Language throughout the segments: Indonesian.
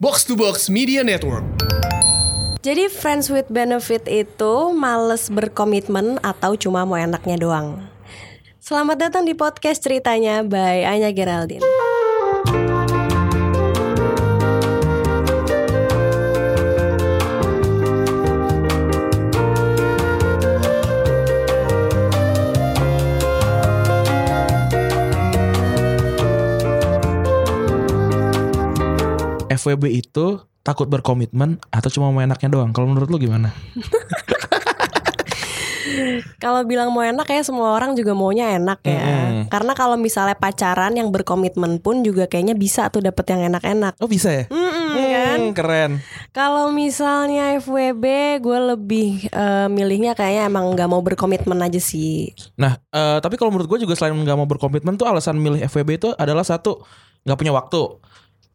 Box to Box Media Network. Jadi friends with benefit itu males berkomitmen atau cuma mau enaknya doang. Selamat datang di podcast ceritanya by Anya Geraldine. FWB itu takut berkomitmen atau cuma mau enaknya doang? Kalau menurut lu gimana? Kalau bilang mau enak ya semua orang juga maunya enak ya. Mm-mm. Karena kalau misalnya pacaran yang berkomitmen pun juga kayaknya bisa tuh dapet yang enak-enak. Oh bisa ya? Mm-mm, kan? Hmm, keren. Kalau misalnya FWB, gue lebih eh, milihnya kayaknya emang nggak mau berkomitmen aja sih. Nah, eh, tapi kalau menurut gue juga selain nggak mau berkomitmen tuh alasan milih FWB itu adalah satu nggak punya waktu,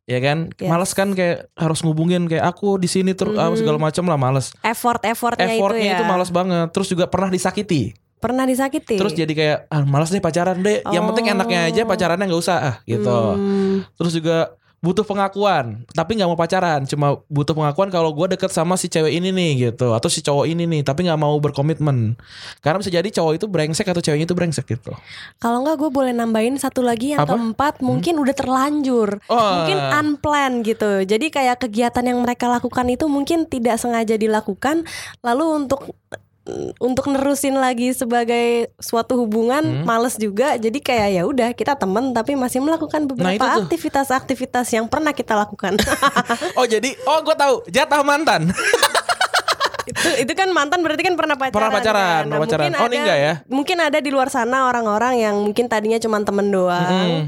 ya kan? Yes. Males kan kayak harus ngubungin kayak aku di sini terus ah, Mhm. segala macam lah males. Effort-effortnya itu Effortnya ya. itu, males banget. Terus juga pernah disakiti. Pernah disakiti. Terus jadi kayak ah, males deh pacaran deh. Yang penting Iya. Oh. enaknya aja pacarannya nggak usah ah gitu. Hmm. Terus juga butuh pengakuan, tapi nggak mau pacaran, cuma butuh pengakuan kalau gue deket sama si cewek ini nih gitu, atau si cowok ini nih, tapi nggak mau berkomitmen. Karena bisa jadi cowok itu brengsek atau ceweknya itu brengsek gitu. Kalau nggak gue boleh nambahin satu lagi yang Apa? Hmm. keempat mungkin udah terlanjur, Oh. mungkin unplanned gitu. Jadi kayak kegiatan yang mereka lakukan itu mungkin tidak sengaja dilakukan, lalu untuk untuk nerusin lagi sebagai suatu hubungan Hmm. males juga. Jadi kayak ya udah kita temen tapi masih melakukan Nah, itu tuh. beberapa aktivitas-aktivitas yang pernah kita lakukan. Oh jadi, oh gue tahu jatah mantan. itu itu kan mantan berarti kan pernah pacaran. Pernah pacaran, kan? pernah pacaran. mungkin Oh, ini ada- enggak ya? Mungkin ada di luar sana orang-orang yang mungkin tadinya cuma temen doang. Mm.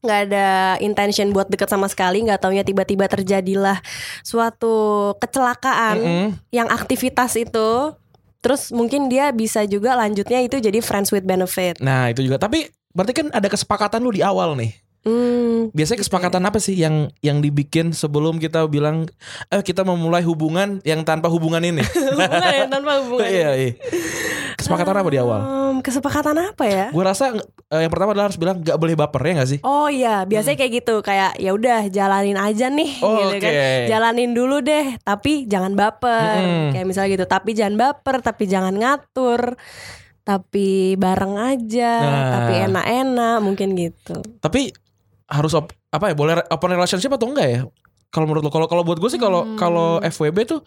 nggak ada intention buat deket sama sekali nggak taunya tiba-tiba terjadilah suatu kecelakaan Mm-mm. yang aktivitas itu terus mungkin dia bisa juga lanjutnya itu jadi friends with benefit Nah itu juga, tapi berarti kan ada kesepakatan lu di awal nih. hmm, Biasanya kesepakatan apa sih yang yang dibikin sebelum kita bilang, eh kita memulai hubungan yang tanpa hubungan ini? hubungan ya tanpa hubungan Iya, iya. Kesepakatan apa di awal? Hmm, kesepakatan apa ya Gue rasa eh, yang pertama adalah harus bilang nggak boleh baper ya nggak sih? Oh iya, biasanya kayak gitu, kayak ya udah jalanin aja nih gitu kan. Mm. Oh, Oke. Jalanin dulu deh, tapi jangan baper. Mm-mm. Kayak misalnya gitu, tapi jangan baper, tapi jangan ngatur. Tapi bareng aja, Nah. tapi enak-enak mungkin gitu. Tapi harus op- apa ya? Boleh re- open relationship atau enggak ya? Kalau menurut lo, kalau kalau buat gue sih kalau Hmm. kalau FWB tuh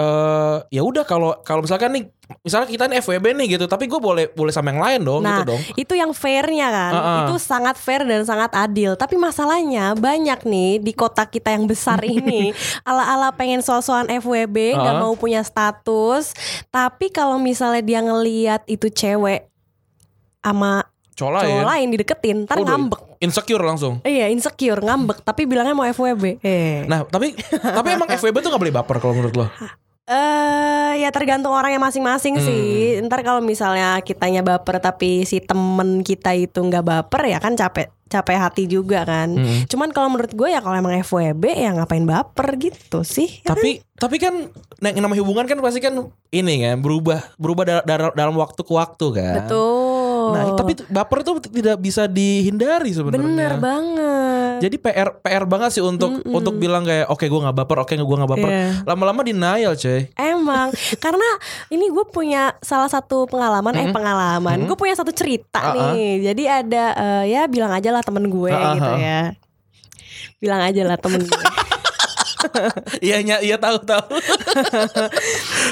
eh ya udah kalau kalau misalkan nih misalnya kita nih FWB nih gitu, tapi gue boleh boleh sama yang lain dong Nah, gitu dong. Itu yang fairnya kan, Uh-uh. itu sangat fair dan sangat adil. Tapi masalahnya banyak nih di kota kita yang besar ini, ala-ala pengen sosokan FWB, nggak Uh-uh. mau punya status. Tapi kalau misalnya dia ngeliat itu cewek sama Cola cowok ya. lain dideketin, ntar Waduh. ngambek. Insecure langsung. Iya insecure ngambek, tapi bilangnya mau FWB. Eh, Nah, tapi tapi emang FWB tuh nggak boleh baper kalau menurut lo. Eh, ya tergantung orangnya masing-masing Hmm. sih. Ntar kalau misalnya kitanya baper tapi si temen kita itu nggak baper ya kan capek capek hati juga kan. Mm. Cuman kalau menurut gue ya kalau emang FWB ya ngapain baper gitu sih. tapi tapi kan nah, yang namanya hubungan kan pasti kan ini kan berubah berubah da- da- dalam waktu ke waktu kan. Betul. Nah, tapi tuh- baper tuh tidak bisa dihindari Oh. bener sebenarnya. banget. Jadi PR PR banget sih untuk Mm-mm. untuk bilang kayak oke gue nggak baper, oke gue nggak baper. Iya. Lama-lama denial, coy. Emang karena ini gue punya salah satu pengalaman eh Mm-mm. pengalaman Mm-mm. gue punya satu cerita Ah-ah. nih jadi ada eh, ya bilang aja lah temen gue Ah-ah. gitu ya bilang aja lah temen gue Iya iya iya Eh. tahu tahu.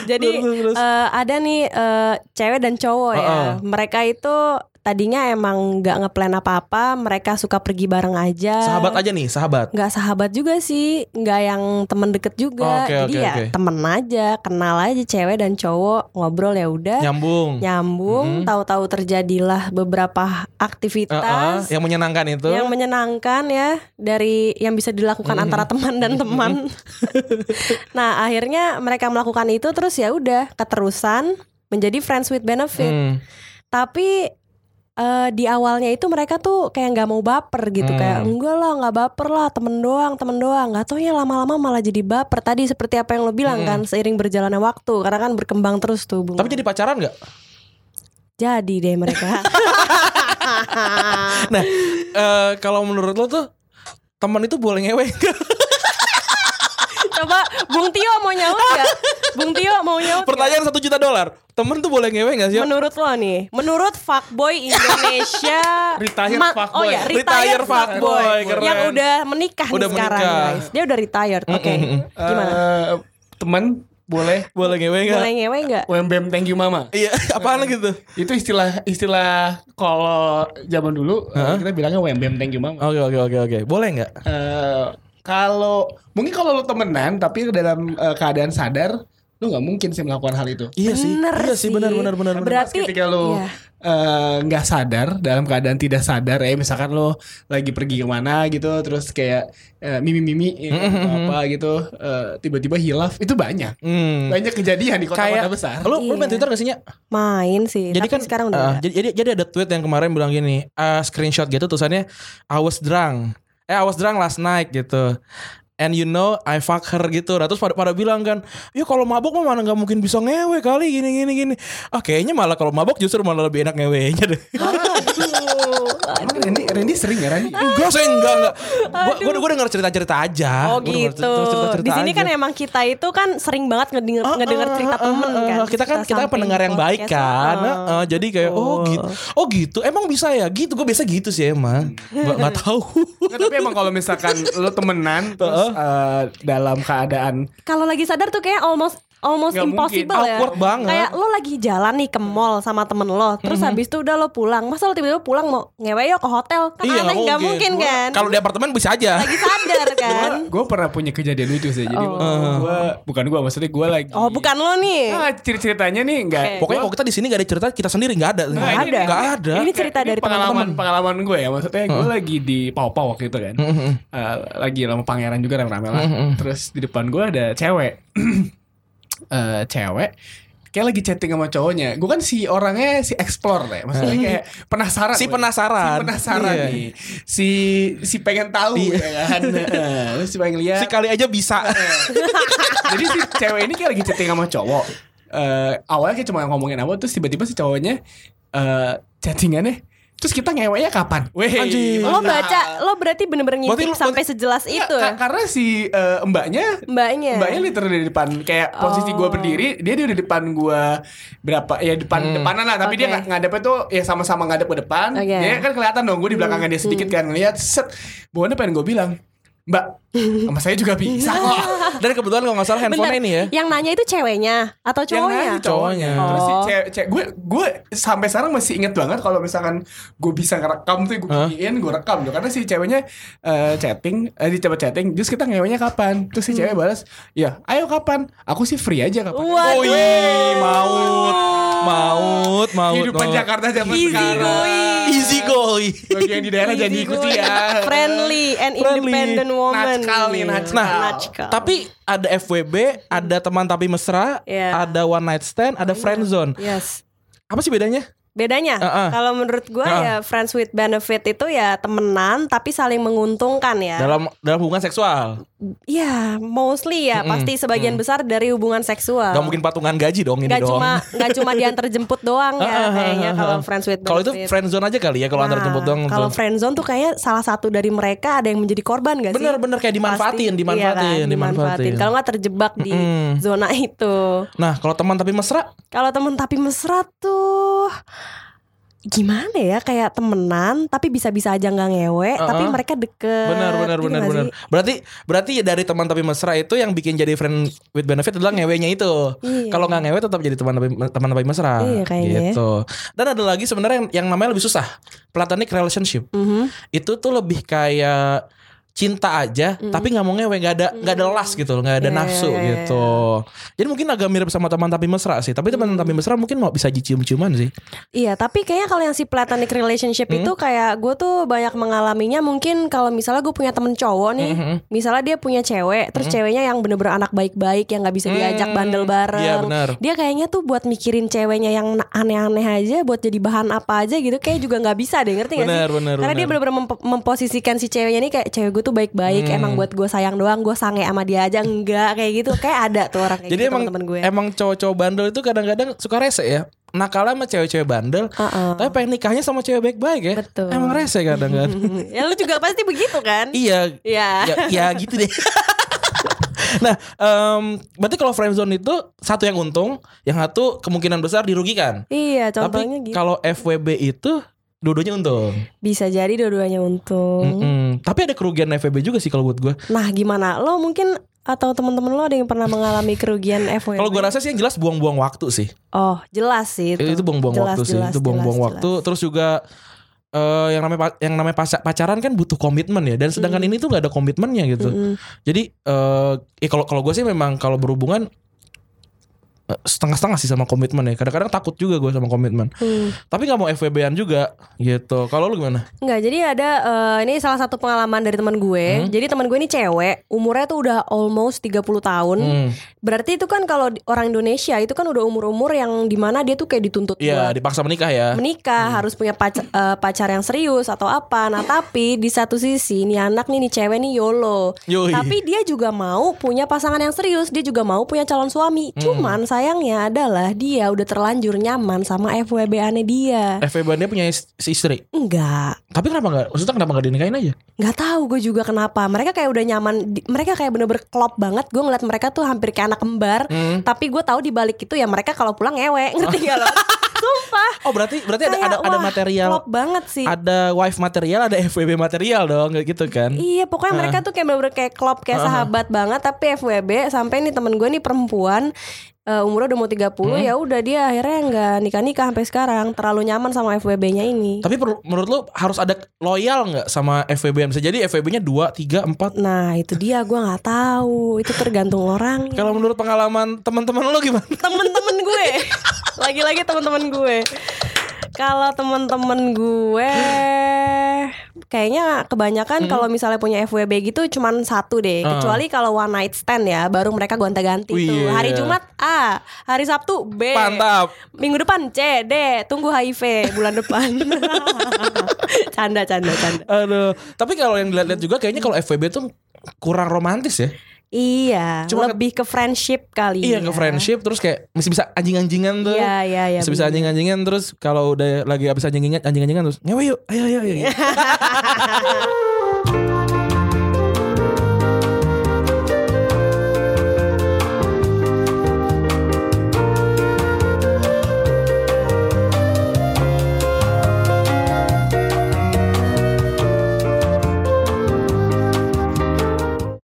jadi Terus, terus. Ah, eh, ada nih eh, cewek dan cowok ya Ah-ah. mereka itu tadinya emang nggak ngeplan apa-apa mereka suka pergi bareng aja sahabat aja nih, sahabat. nggak sahabat juga sih nggak yang temen deket juga Oh, Oke, jadi oke, ya oke. temen aja kenal aja cewek dan cowok ngobrol ya udah Nyambung. nyambung Mm-mm. tahu-tahu terjadilah beberapa Heeh, ya, aktivitas yang menyenangkan itu. yang menyenangkan ya dari yang bisa dilakukan Mm-mm. antara teman dan teman. nah, akhirnya mereka melakukan itu terus ya udah keterusan menjadi friends with benefit. Hmm. Tapi eh, di awalnya itu mereka tuh kayak nggak mau baper gitu Hmm. kayak enggak lah nggak baper lah temen doang temen doang nggak taunya lama-lama malah jadi baper tadi seperti apa yang lo bilang kan Mm-mm. seiring berjalannya waktu karena kan berkembang terus tuh hubungan. Tapi jadi pacaran nggak? jadi deh mereka Nah, eh, kalau menurut lo tuh teman itu boleh ngewe nggak? Coba Bung Tio mau nyaut gak? Bung Tio mau nyaut nggak? Pertanyaan satu juta dolar. Temen tuh boleh ngewe gak sih? Menurut lo nih, menurut fuckboy Indonesia Retired Oh fuckboy. ya, retired, Retired fuckboy, fuckboy, keren. Yang udah menikah Udah nih sekarang menikah. Uh, guys Dia udah retired, oke Gimana? Eh, teman boleh Boleh ngewe gak? Boleh ngewe gak? UMBM thank you mama. Iya, apaan lagi tuh? Itu istilah istilah kalau zaman dulu eh, kita bilangnya UMBM thank you mama. Oke oke oke oke. Boleh nggak? Eh, kalau mungkin kalau lu temenan tapi dalam eh, keadaan sadar lu nggak mungkin sih melakukan hal itu. Iya sih. Bener Iya sih benar benar benar. benar. Pas Berarti ketika lu iya. eh, nggak sadar dalam keadaan tidak sadar ya misalkan lu lagi pergi kemana gitu terus kayak eh, mimi-mimi ya, atau apa gitu eh, tiba-tiba hilaf itu banyak Hmm. banyak kejadian di kota-kota besar Lu lu main Iya. Twitter gak sih Nya? Main sih Jadi Tapi kan sekarang udah eh, nggak. jadi, jadi jadi ada tweet yang kemarin bilang gini, eh, screenshot gitu tulisannya I was drunk. Eh I was drunk last night gitu. And you know I fuck her gitu. Nah, terus pada pada bilang kan, "Ya kalau mabuk mah mana nggak mungkin bisa ngewe kali gini gini gini." Ah kayaknya malah kalau mabuk justru malah lebih enak ngewenya deh. Emang Randy, Randy sering ya Randy? enggak saya enggak enggak. Gua gua, gua denger cerita-cerita aja. Oh Gua denger gitu. cerita-cerita Di sini aja. kan emang kita itu kan sering banget ngedenger, Ah, ngedenger ah, cerita ah, temen ah, kan. ah. Kita kan cerita kita samping pendengar yang baik podcast. kan. Ah. Ah, ah. jadi kayak oh. Oh. gitu. Oh gitu. Emang bisa ya? Gitu gue biasa gitu sih emang. Gak, nggak tahu. Nggak, tapi emang kalau misalkan lu temenan terus eh, dalam keadaan Kalau lagi sadar tuh kayak almost almost Nggak impossible mungkin. ya. Awkward banget. Mhm. Kayak lo lagi jalan nih ke mall sama temen lo, terus habis itu udah lo pulang. Masa lo tiba-tiba pulang mau ngewe yuk ke hotel? Kan aneh nggak mungkin kan. Iya, oh, gitu. Kalau di apartemen bisa aja. lagi sadar kan. gue pernah punya kejadian lucu sih jadi gue bukan gue maksudnya gue lagi iya. Oh bukan lo nih. ah, ceritanya nih nggak Oke. Pokoknya kalau kita di sini gak ada cerita kita sendiri nggak ada. Nggak ini- ada. Nggak ada. Ini cerita dari pengalaman teman-teman. pengalaman gue ya maksudnya gue lagi di Papua waktu itu kan Mm-hmm. Eh, lagi sama pangeran juga rame-rame lah terus di depan gue ada cewek Eh, cewek kayak lagi chatting sama cowoknya gue kan si orangnya si explore lah ya. maksudnya kayak penasaran Si gue. penasaran. si penasaran Iya. nih si si pengen tahu ya kan Eh, lu si pengen lihat Si kali aja bisa. jadi si cewek ini kayak lagi chatting sama cowok. Eh, awalnya kayak cuma ngomongin apa terus tiba-tiba si cowoknya eh chattingannya terus kita ngeweknya kapan? Weh, Anjing. Lo Oh, mantap. baca, lo berarti bener-bener nah. Berarti ngintip lo- sampai sejelas Iya, itu. ya? ka- karena si eh, mbaknya Mbaknya. Oh. Mbaknya literally di depan kayak posisi gua berdiri, dia dia di depan gua berapa ya depan depanan lah, tapi dia Oke. nggak ngadepnya tuh ya sama-sama ngadep ke depan. Oke. Hmm. Dia kan kelihatan dong gua di belakangnya dia sedikit kan ngelihat set. Bawahnya pengen gua bilang, "Mbak, sama saya juga bisa kok." Dan kebetulan kalau nggak salah handphone ini ya. Yang nanya itu ceweknya atau cowoknya? Yang nanya cowoknya. Cowoknya. Terus si Oh. cewek, cewek- gue gue sampai sekarang masih inget banget kalau misalkan gue bisa ngerekam tuh gue videoin, gue rekam tuh karena si ceweknya eh, chatting, eh, dicoba chatting, terus kita ngewenya kapan? Terus Hmm. si cewek balas, "Ya, ayo kapan? Aku sih free aja kapan." Waduh. Oi, Oh, iya, maut, maut, maut. Kehidupan maut. Jakarta zaman Easy sekarang. going. Easy going. Bagi yang di daerah jangan Easy diikuti going. ya. Friendly and Friendly. independent woman. Natchkal nih, natchkal. Nah, Natchkal. tapi ada FWB, ada teman tapi mesra, Iya. ada one night stand, ada friend zone. yes. Apa sih bedanya? Bedanya, Uh-uh. kalau menurut gua Uh-uh. ya friends with benefit itu ya temenan tapi saling menguntungkan ya. Dalam dalam hubungan seksual. Ya, mostly ya, pasti sebagian besar dari hubungan seksual. Gak mungkin patungan gaji dong ini Gak dong. cuma nggak cuma diantar jemput doang ya kayaknya kalau friends with Kalau itu benefit. friend zone aja kali ya kalau antar Nah, jemput dong. Kalau tuh. friendzone tuh kayaknya salah satu dari mereka ada yang menjadi korban gak sih? Bener-bener kayak dimanfaatin, Pasti, dimanfaatin, iya kan, dimanfaatin. Kalau nggak terjebak di zona itu. Nah, kalau teman tapi mesra, Kalau temen tapi mesra tuh gimana ya kayak temenan tapi bisa-bisa aja nggak ngewe tapi Uh-uh. mereka deket benar benar Gitu benar nggak benar. sih? Berarti berarti ya dari teman tapi mesra itu yang bikin jadi friend with benefit adalah ngewenya itu. Iya. Kalau nggak ngewe tetap jadi teman tapi teman tapi mesra. Iya, kayaknya. Gitu. Dan ada lagi sebenarnya yang, yang namanya lebih susah, platonic relationship. Mhm. itu tuh lebih kayak cinta aja tapi nggak mau ngewe nggak ada nggak ada las gitu loh nggak ada Iya, iya, nafsu iya, gitu jadi mungkin agak mirip sama teman tapi mesra sih tapi teman tapi mesra mungkin mau bisa cium-ciuman sih Iya, tapi kayaknya kalau yang si platonic relationship Hmm? itu kayak gue tuh banyak mengalaminya mungkin kalau misalnya gue punya temen cowok nih, Hmm, misalnya dia punya cewek, terus ceweknya yang bener-bener anak baik-baik yang nggak bisa diajak bandel bareng, iya, benar. dia kayaknya tuh buat mikirin ceweknya yang na- aneh-aneh aja, buat jadi bahan apa aja gitu, kayak juga nggak bisa deh, ngerti nggak Benar, sih? benar, Karena dia benar. bener-bener memp- memposisikan si ceweknya nih kayak cewek gue tuh baik-baik, Hmm. emang buat gue sayang doang, gue sange sama dia aja enggak kayak gitu, kayak ada tuh orang kayak jadi gitu emang temen gue. emang cowok-cowok bandel itu kadang-kadang suka rese ya nakalnya sama cewek-cewek bandel Uh-uh. tapi pengen nikahnya sama cewek baik-baik ya Betul. emang rese kadang kadang ya lu juga pasti begitu kan? iya Iya. ya, ya gitu deh Nah, em, berarti kalau friend zone itu satu yang untung, yang satu kemungkinan besar dirugikan. Iya, Tapi contohnya gitu. kalau FWB itu dua-duanya untung. Bisa jadi dua-duanya untung. Mm-mm. Tapi ada kerugian FWB juga sih kalau buat gue. Nah, gimana? Lo mungkin atau temen-temen lo ada yang pernah mengalami kerugian FWB? Kalau gue rasa sih yang jelas buang-buang waktu sih. Oh, jelas sih itu. Eh, Itu, buang-buang Jelas, waktu sih. jelas, Itu buang-buang jelas, waktu. Terus juga eh, yang namanya pa- yang namanya paca- pacaran kan butuh komitmen ya. Dan sedangkan ini tuh nggak ada komitmennya gitu. Mm-mm. Jadi eh ya kalau kalau gue sih memang kalau berhubungan eh, setengah-setengah sih sama komitmen ya. Kadang-kadang takut juga gue sama komitmen. Hmm. Tapi nggak mau FWB-an juga gitu. Kalau lu gimana? Enggak, jadi ada eh, ini salah satu pengalaman dari teman gue. Mm-hmm. Jadi teman gue ini cewek, umurnya tuh udah almost 30 tahun. Hmm. Berarti itu kan kalau di- orang Indonesia itu kan udah umur-umur yang dimana dia tuh kayak dituntut Iya, buat dipaksa menikah ya. menikah harus punya pacar, pacar yang serius atau apa. Nah tapi di satu sisi ini anak nih nih cewek nih yolo. Yoi. Tapi dia juga mau punya pasangan yang serius, dia juga mau punya calon suami. Hmm. Cuman sayangnya adalah dia udah terlanjur nyaman sama FWB aneh dia. FWB-nya punya is- si istri. Enggak, Tapi kenapa nggak? Maksudnya kenapa nggak dinikahin aja? nggak tahu gue juga kenapa. Mereka kayak udah nyaman, di- mereka kayak bener-bener klop banget. Gue ngeliat mereka tuh hampir kayak anak kembar. Hmm. Tapi gue tahu di balik itu ya mereka kalau pulang ngewe, ngerti gak lo? Sumpah. Oh berarti berarti Oh. ada Kayak, ada, ada wah, material, Klop banget sih. ada wife material, ada FWB material dong gitu kan? Iya pokoknya mereka tuh kayak bener-bener kayak klop Kayak sahabat banget Tapi FWB Sampai nih temen gue nih perempuan eh, Umurnya udah mau 30 ya udah dia akhirnya nggak nikah-nikah sampai sekarang Terlalu nyaman sama FWB-nya ini Tapi perlu- menurut lu harus ada loyal nggak sama FWB? Bisa jadi FWB-nya dua, tiga, empat. Nah itu dia gue nggak tahu Itu tergantung orang Kalau menurut pengalaman teman-teman lo gimana? Temen-temen gue Lagi-lagi temen-temen gue kalau temen-temen gue kayaknya kebanyakan Hmm. kalau misalnya punya FWB gitu cuman satu deh kecuali kalau one night stand ya baru mereka gonta-ganti Ah. Wih, tuh hari iya. Jumat A hari Sabtu B Mantap. Minggu depan C, D, tunggu HIV bulan depan. canda, canda, canda. Aduh. Tapi kalau yang dilihat-lihat juga kayaknya kalau FWB tuh kurang romantis ya. Iya, Cuma ke- lebih ke friendship kali. Iya, ya. ke friendship terus kayak masih bisa anjing-anjingan tuh. Iya, iya, iya. Masih bisa bener. anjing-anjingan terus kalau udah lagi habis anjing-anjingan anjing-anjingan terus ngewe yuk. Ayo ayo ayo.